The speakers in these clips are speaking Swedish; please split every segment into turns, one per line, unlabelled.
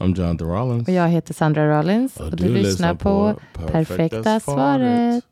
I'm Jonathan Rollins.
Och jag heter Sandra Rollins. Och, du, lyssnar på Perfekta svaret.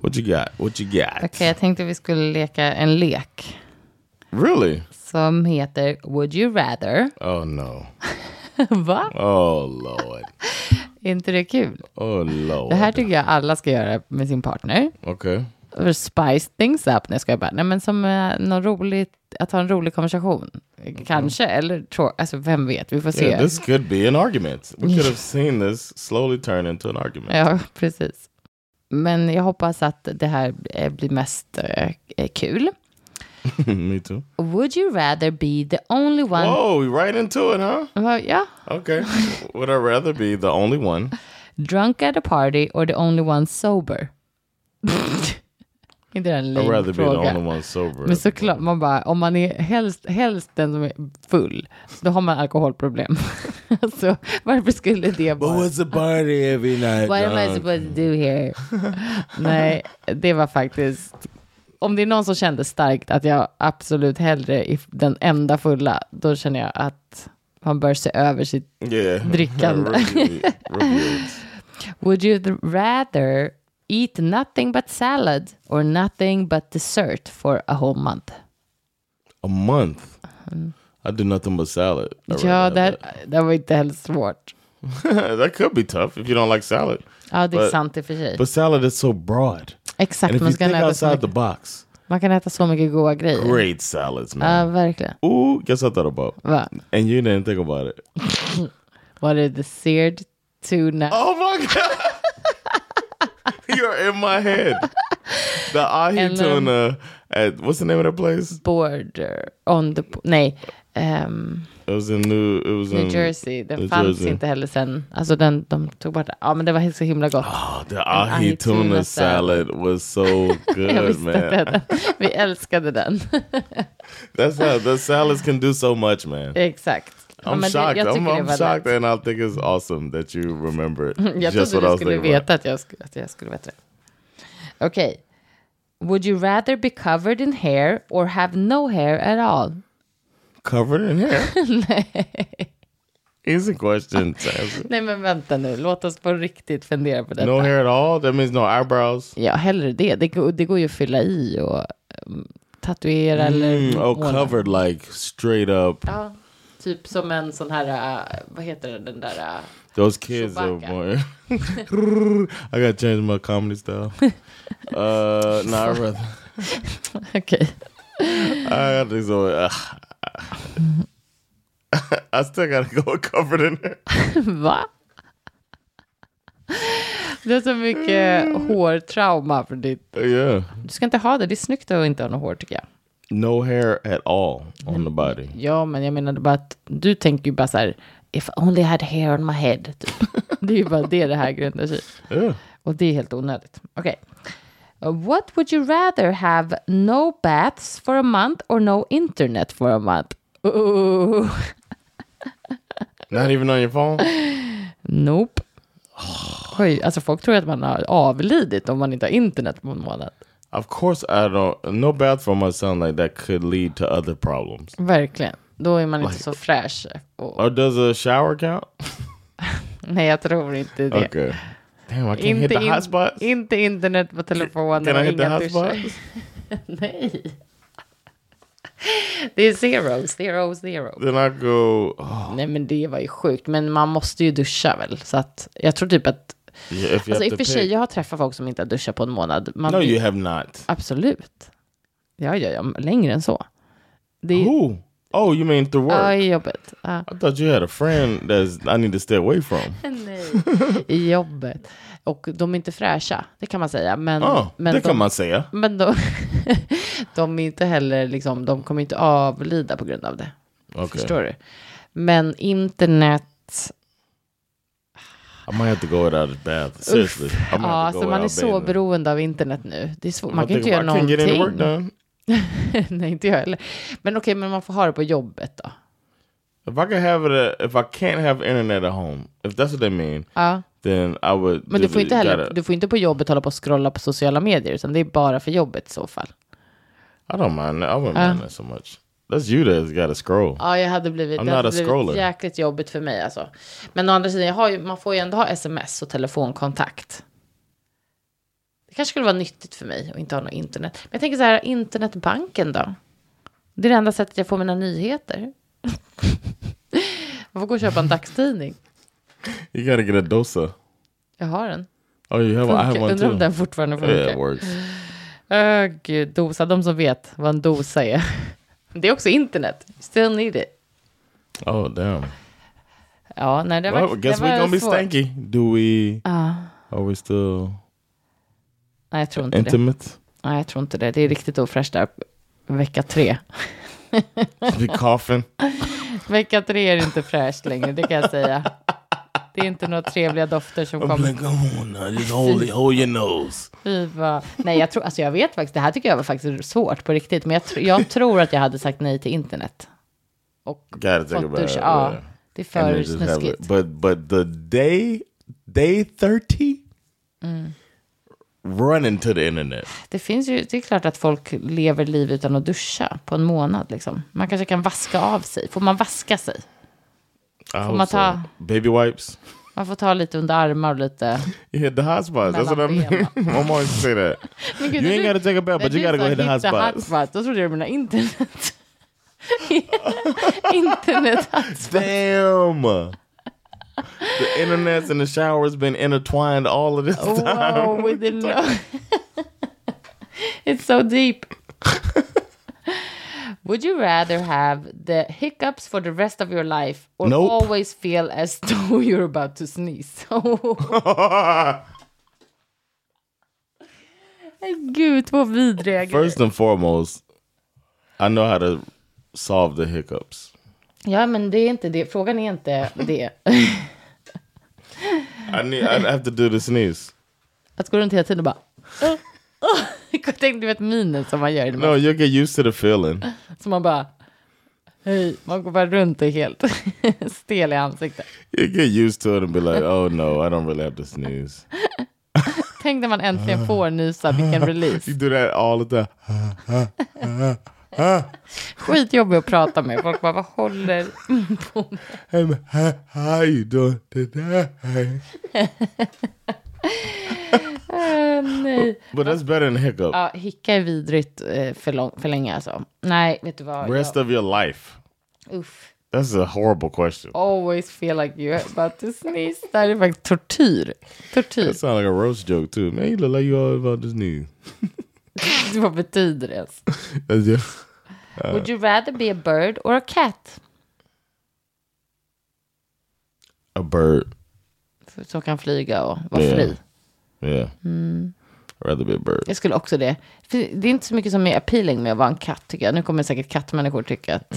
What you got? What you got?
Okej, jag tänkte vi skulle leka en lek
Really?
som heter Would you rather?
Oh no.
Va?
Oh lord.
Är inte det kul?
Oh lord.
Det här tycker jag alla ska göra med sin partner.
Okej.
För Spice things up. Nej, ska jag bara. Nej, men som eh, någon roligt, att ha en rolig konversation. Kanske, eller trå- alltså vem vet, vi får se.
Yeah, this could be an argument. We could have seen this slowly turn into an argument.
Ja, precis. Men jag hoppas att det här eh, blir mest eh, eh, kul.
Me too.
Would you rather be the only one...
Whoa, we right into it, huh?
Va- Ja.
Okay. Would I rather be the only one?
Drunk at a party or the only one sober? Inte det en
I'd rather
lame
be the
fråga?
only one sober.
Men såklart, man bara, om man är helst, helst den som är full, då har man alkoholproblem. alltså, varför skulle det
But
vara?
what's a party every night?
What am I
drunk?
supposed to do here? Nej, det var faktiskt... Om det är någon som kände starkt att jag absolut hellre är den enda fulla, då känner jag att man bör se över sitt...
yeah.
drickande?
Review- reviewed.
Would you th- rather eat nothing but salad or nothing but dessert for a whole month?
A month. I do nothing but salad. I'd
Ja,
rather
det,
have
här- det här var inte heller svårt.
that. that could be tough if you don't like salad.
Ja, det är
But-
sant i och för sig.
But salad is so broad.
Exakt,
And if
man,
you
ska
think
äta så
outside the
mycket,
box,
man kan äta så mycket goda grejer.
great salads,
Ja,
man.
verkligen.
Ooh, guess I thought about.
Va?
And you didn't think about it.
Var det the seared tuna?
Oh my god! You're in my head. The ahi
And, um,
tuna at what's the name of that place?
border on the... Nej. ehm,
It was in New. It was in
New Jersey. Den
Mm. New
fanns
Jersey.
inte heller sen. Alltså den, de tog bort den. Ja, men det var helt så himla gott.
Oh, the
ahi
ahi tuna,
tuna
salad was so
Jag
good,
visste att
man.
den, vi älskade den.
That's how the salads can do so much, man.
Exakt.
I'm
Ja, men det-
shocked. I'm,
det
I'm
var
shocked,
lätt.
and I think it's awesome that you remember it.
Jag
just what I
trodde du
was
skulle
thinking about.
veta att jag skulle, att jag skulle veta det. Okej. Would you rather be covered in hair or have no hair at all?
Covered in hair. Easy question to answer.
Nej, men vänta nu. Låt oss på riktigt fundera på detta.
No hair at all. That means no eyebrows.
Ja, hellre det. Det, går- det går ju att fylla i och mm, tatuera eller...
Oh,
måla.
covered like straight up.
Ja, typ som en sån här, äh, vad heter den där, äh,
Those kids are
Chewbacca.
born. I gotta change my comedy style. Uh, nah, I'd rather.
okej.
I think so. Uh, I still gotta go covered in hair.
Va? Det är så mycket hårtrauma för ditt...
Yeah.
Du ska inte ha det, det är snyggt att inte ha något hår tycker jag.
No hair at all on the body.
Ja, men jag menade bara att du tänker ju bara så här, if I only had hair on my head, typ. Det är ju bara det det här grundar sig i.
Yeah.
Och det är helt onödigt. Okej. Uh, What would you rather have no baths for a month or no internet for a month? Ooh.
Not even on your phone?
Nope. Oj, alltså folk tror att man har avlidit om man inte har internet på en månad.
Of course, I don't. No bath for my son like that could lead to other problems.
Verkligen. Då är man inte så fräsch. Och,
Or Oh, does a shower count?
nej, jag tror inte det.
Okay. Damn, I can't hit
Inte,
the hot
in,
spots.
inte internet på telefonen.
Can I
och
hit the
inga
hot
duschar.
spots?
nej. Det är zero, zero, zero.
Then I go. Oh,
Nej, men det var ju sjukt. Men man måste ju duscha väl? Så att jag tror typ att...
yeah, if you
Alltså i
have to
och för sig,
pick.
jag har träffat folk som inte har duschat på en månad. Man
No,
blir-
you have not.
Absolut. Ja, ja, ja, längre än så. Det är,
Who? Oh, you mean through work?
Ja, i jobbet. Ja.
Um, I thought you had a friend that's I need to stay away from.
I jobbet. Och de är inte fräscha, det kan man säga. Men,
Ja,
men
Ah, det
de,
kan man säga.
Men de, de är inte heller, liksom, de kommer inte avlida på grund av det.
Okej.
Förstår du? Men internet,
I might have to go without a bath. Seriously. I might
ja,
have to go
så man är
without
så
bathing.
beroende av internet nu. Det är svårt, man
I
kan inte
think
göra
I can get any work
någonting.
done.
Nej, inte jag heller. Men okej, men man får ha det på jobbet då.
If I can have it, uh, if I can't have internet at home, if that's what they mean,
Ja.
then I would.
Men du får, inte heller,
gotta-
du får inte på jobbet hålla på och scrolla på sociala medier, utan det är bara för jobbet i så fall.
I don't mind that. I wouldn't mind that so much. That's you that's got to scroll.
Ja, jag hade blivit,
I'm
det
not a
hade blivit
scroller.
jäkligt jobbigt för mig alltså. Men å andra sidan, jag har ju, man får ju ändå ha sms och telefonkontakt. Det kanske skulle vara nyttigt för mig att inte ha något internet. Men jag tänker så här, internetbanken då? Det är det enda sättet jag får mina nyheter. jag får gå och köpa en dagstidning.
You got to get a dosa.
Jag har en.
Oh, you have. one? I have
Funkar.
one
Undrar om
too.
den fortfarande
Yeah,
funkar.
it works.
Åh gud, dosa. De som vet vad en dosa är. Det är också internet. Still need it.
Oh damn.
Ja, nej, det var,
Well, I guess
det
we're
var
gonna be
svårt.
stanky. Do we?
Ja.
Are we still
Nej, jag tror inte det.
intimate?
Nej, jag tror inte det. Det är riktigt ofräscht där. Vecka tre.
Be coughing.
Vecka tre är inte fräscht längre, det kan jag säga. Det är inte några trevliga dofter som
I'm
kommer.
like, come on, now, just hold, hold your nose.
Fy vad- Nej, jag tror, alltså jag vet faktiskt, det här tycker jag var faktiskt svårt på riktigt, men jag, tr- jag tror att jag hade sagt nej till internet. Och
Gotta think
fått
about
dusch.
it.
Ja,
yeah.
det är
And
för
then just have it.
snuskigt.
But but the day day thirty, Mm. running to the internet.
Det finns ju, det är klart att folk lever liv utan att duscha på en månad liksom. Man kanske kan vaska av sig. Får man vaska sig?
I
Får
hope
man
so.
ta-
baby wipes.
Man får ta lite under armar och lite...
You hit the hot spots. That's what I
Mellan
mean. I'm always say that.
Men
You
gud, när
ain't
du-
gotta take a bath,
när
but you
du
gotta
sa
go hit the hot
hitta
spots.
hotspot, Då trodde jag du menade internet. internet hotspot.
Damn. the internet's and the shower's been intertwined all of this
Oh,
time.
Wow, we didn't know. It's so deep. Would you rather have the hiccups for the rest of your life or
Nope.
always feel as though you're about to sneeze? Gud, vad vidriga grejer.
First and foremost, I know how to solve the hiccups.
Ja, men det är inte det. Frågan är inte det.
I need. I have to do the sneeze.
Att gå runt hela tiden och bara... Jag tänkte, du vet minen som man gör. när man
No, you'll get used to the feeling.
Så man bara, hej, man går bara runt och är helt stel i ansiktet.
You get used to it and be like, oh no, I don't really have to sneeze.
Tänk när man äntligen får nysa, vilken
You
release.
do that all the time.
Skitjobbig att prata med, folk bara, vad håller...
Hey, man, how, how you doing today?
Eh, nej.
But that's better than hiccup.
Ja, hicka är vidrigt eh, för, lång, för länge alltså. Nej, vet du vad?
Rest of your life.
jag, uff.
That's a horrible question.
Oh, Always feel like you're about to sneeze. Det här är faktiskt tortyr. Tortyr.
That sounds like a roast joke too. Man, you look like you all about this news.
Vad betyder det? ens?
That's just
Would you rather be a bird or a cat?
a bird.
Som kan flyga och vara
Yeah.
fri.
Yeah. I'd rather be a bird.
Jag skulle också det. För det är inte så mycket som är appealing med att vara en katt tycker jag. Nu kommer säkert kattmänniskor tycka att...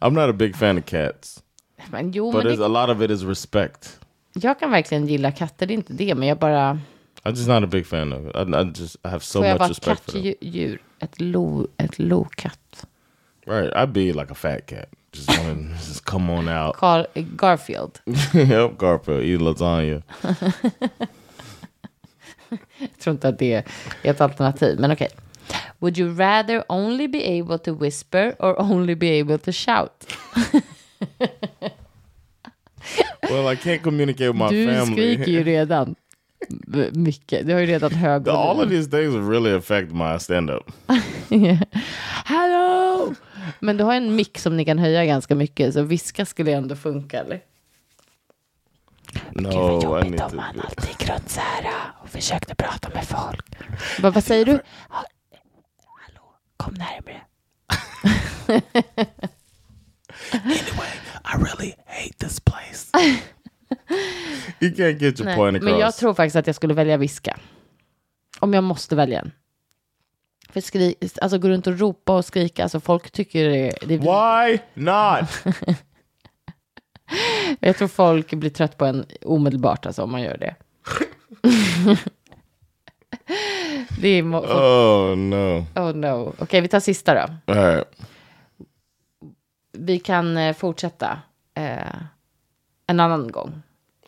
I'm not a big fan of cats,
Men jo,
but
men
it's, a
det,
lot of it is respect.
jag kan verkligen gilla katter, det är inte det. Men jag bara...
I'm just not a big fan of it. I, I just I have so
får jag
much
vara ett
respect for them.
kattdjur? Ett lo... Ett lokatt?
Right, I'd be like a fat cat. Just want to just come on out.
Carl, Garfield.
Mm. Help Garfield eat lasagna.
Jag tror inte att det är ett alternativ, men okej. Would you rather only be able to whisper or only be able to shout?
Well, I can't communicate with my
Du skriker
family.
ju redan m- mycket. Du har ju redan hög
The- all of
volym.
these things really affect my stand up.
Hallå! Men du har en mick som ni kan höja ganska mycket, så viska skulle ju ändå funka, eller? Gud vad
No, I need
jobbigt om
to.
man alltid gick runt så här och försökte prata med folk. Bara, vad säger du? Ja, Hallå, kom närmare.
I really hate this place. You can't get your point across.
Men jag tror faktiskt att jag skulle välja viska. Om jag måste välja en. För skri alltså gå runt och ropa och skrika, alltså folk tycker det, det blir,
Why not?
Jag tror folk blir trött på en omedelbart alltså, om man gör det. det är mo- folk,
Oh no.
oh no. Okej, vi tar sista då.
All right.
Vi kan eh, fortsätta eh, en annan gång.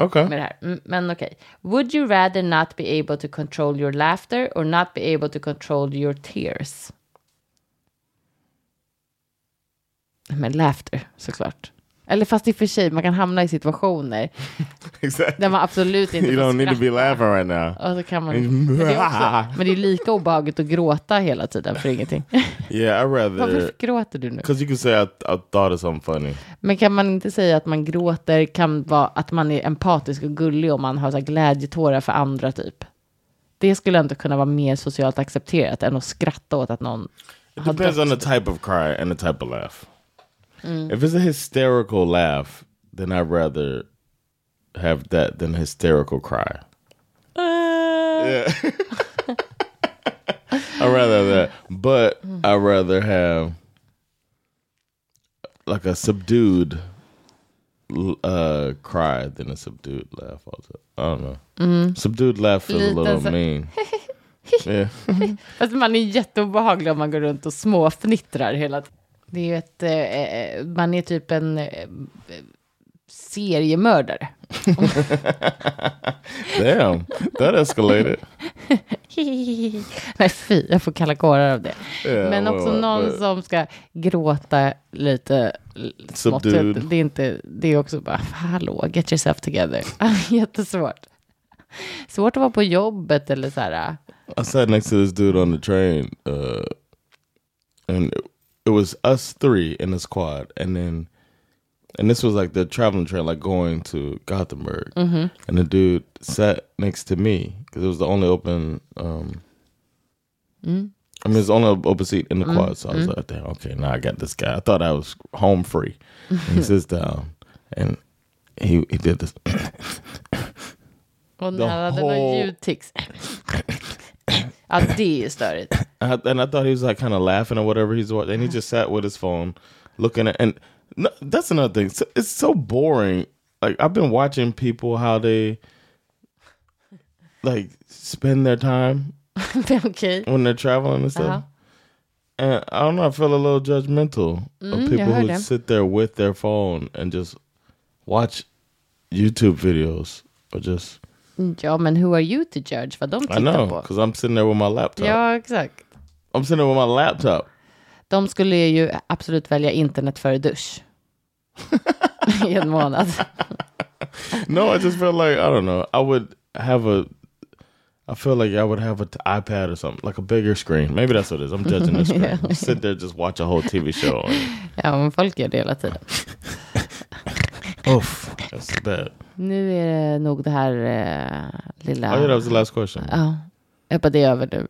Okay.
med det här. Mm, Men okej. Would you rather not be able to control your laughter or not be able to control your tears? Men laughter, såklart. Eller fast i och för sig, man kan hamna i situationer
Exactly.
där man absolut inte
You
får
don't need to Mm. be
skratta.
laughing right now.
Och så kan man... Men det, är också, men det är lika obehagligt att gråta hela tiden för ingenting.
Yeah, I'd rather.
Varför gråter du nu?
Because you can say I, I thought of something funny.
Men kan man inte säga att man gråter kan vara att man är empatisk och gullig om man har så här glädjetårar för andra typ? Det skulle ändå kunna vara mer socialt accepterat än att skratta åt att någon
It
har
depends on the
dött.
type of cry and the type of laugh. If it's a hysterical laugh, then I'd rather have that than a hysterical cry. Yeah. I'd rather have that. But I'd rather have like a subdued l- uh, cry than a subdued laugh. Also. I don't know. Subdued laugh feels a
Lite
little
så-
mean. yeah.
Fast Alltså, man är jätteobehaglig om man går runt och småfnittrar hela tiden. Det är ju ett, eh, eh, man är typ en eh, seriemördare.
Damn. That escalated.
Nej fy, jag får kalla kårar av det.
Yeah,
Men också
well,
någon
but-
som ska gråta lite l- smått. typ.
Subdued.
Det är, inte, det är också bara, hallå, get yourself together. Jättesvårt. Svårt att vara på jobbet eller så här. äh,
I sat next to this dude on the train, uh, and it, it was us three in this quad, and then, and this was like the traveling train, like going to Gothenburg, mm-hmm. and the dude sat next to me because it was the only open. Um, I mean, it's the only open seat in the quad, so I was like, "Damn, okay, now I got this guy." I thought I was home free. And he sits down, and he he did this.
Och
The
när han hade någon
whole-
ljudtics. ja, det är störigt.
And I, and I thought he was like kind of laughing or whatever he's watching. And he just sat with his phone looking at. And no, that's another thing. So- It's so boring. Like, I've been watching people how they like spend their time
Men Okej.
when they're traveling and stuff.
Uh-huh.
And I don't know. I feel a little judgmental of people
heard
who
that.
sit there with their phone and just watch YouTube videos or just.
Ja, men who are you to judge vad de
I
tittar
know
på?
because I'm sitting there with my laptop.
Ja, exakt.
I'm sitting there with my laptop.
De skulle ju absolut välja internet före dusch. I en månad.
No, I just feel like I don't know. I would have a. I feel like I would have an iPad or something, like a bigger screen. Maybe that's what it is. I'm judging the screen. Sit there, just watch a whole TV show. And,
Ja, men folk gör det hela tiden.
oof, that's bad.
Nu är det nog det här eh, lilla...
Oh yeah, that was the last question.
Ja, jag bara, det är över nu.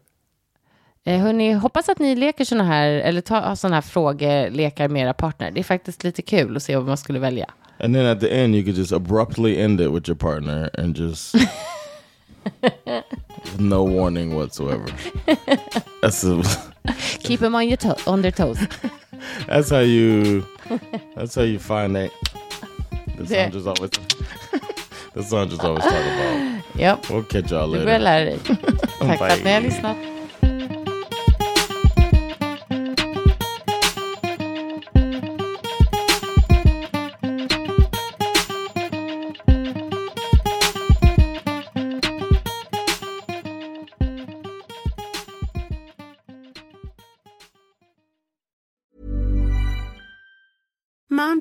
Eh, hörni, hoppas att ni leker sådana här, eller tar sådana här frågelekar med era partner. Det är faktiskt lite kul att se vad man skulle välja.
And then at the end, you could just abruptly end it with your partner and just with no warning whatsoever. That's a,
Keep them on, your to- on their toes.
that's how you. That's how you find that. That's
Yeah.
Sandra's always. That's Sandra's always talking about.
Ja,
We'll catch y'all
du
later.
börjar lära dig. Tack för att ni har
Bye.
lyssnat.
Mom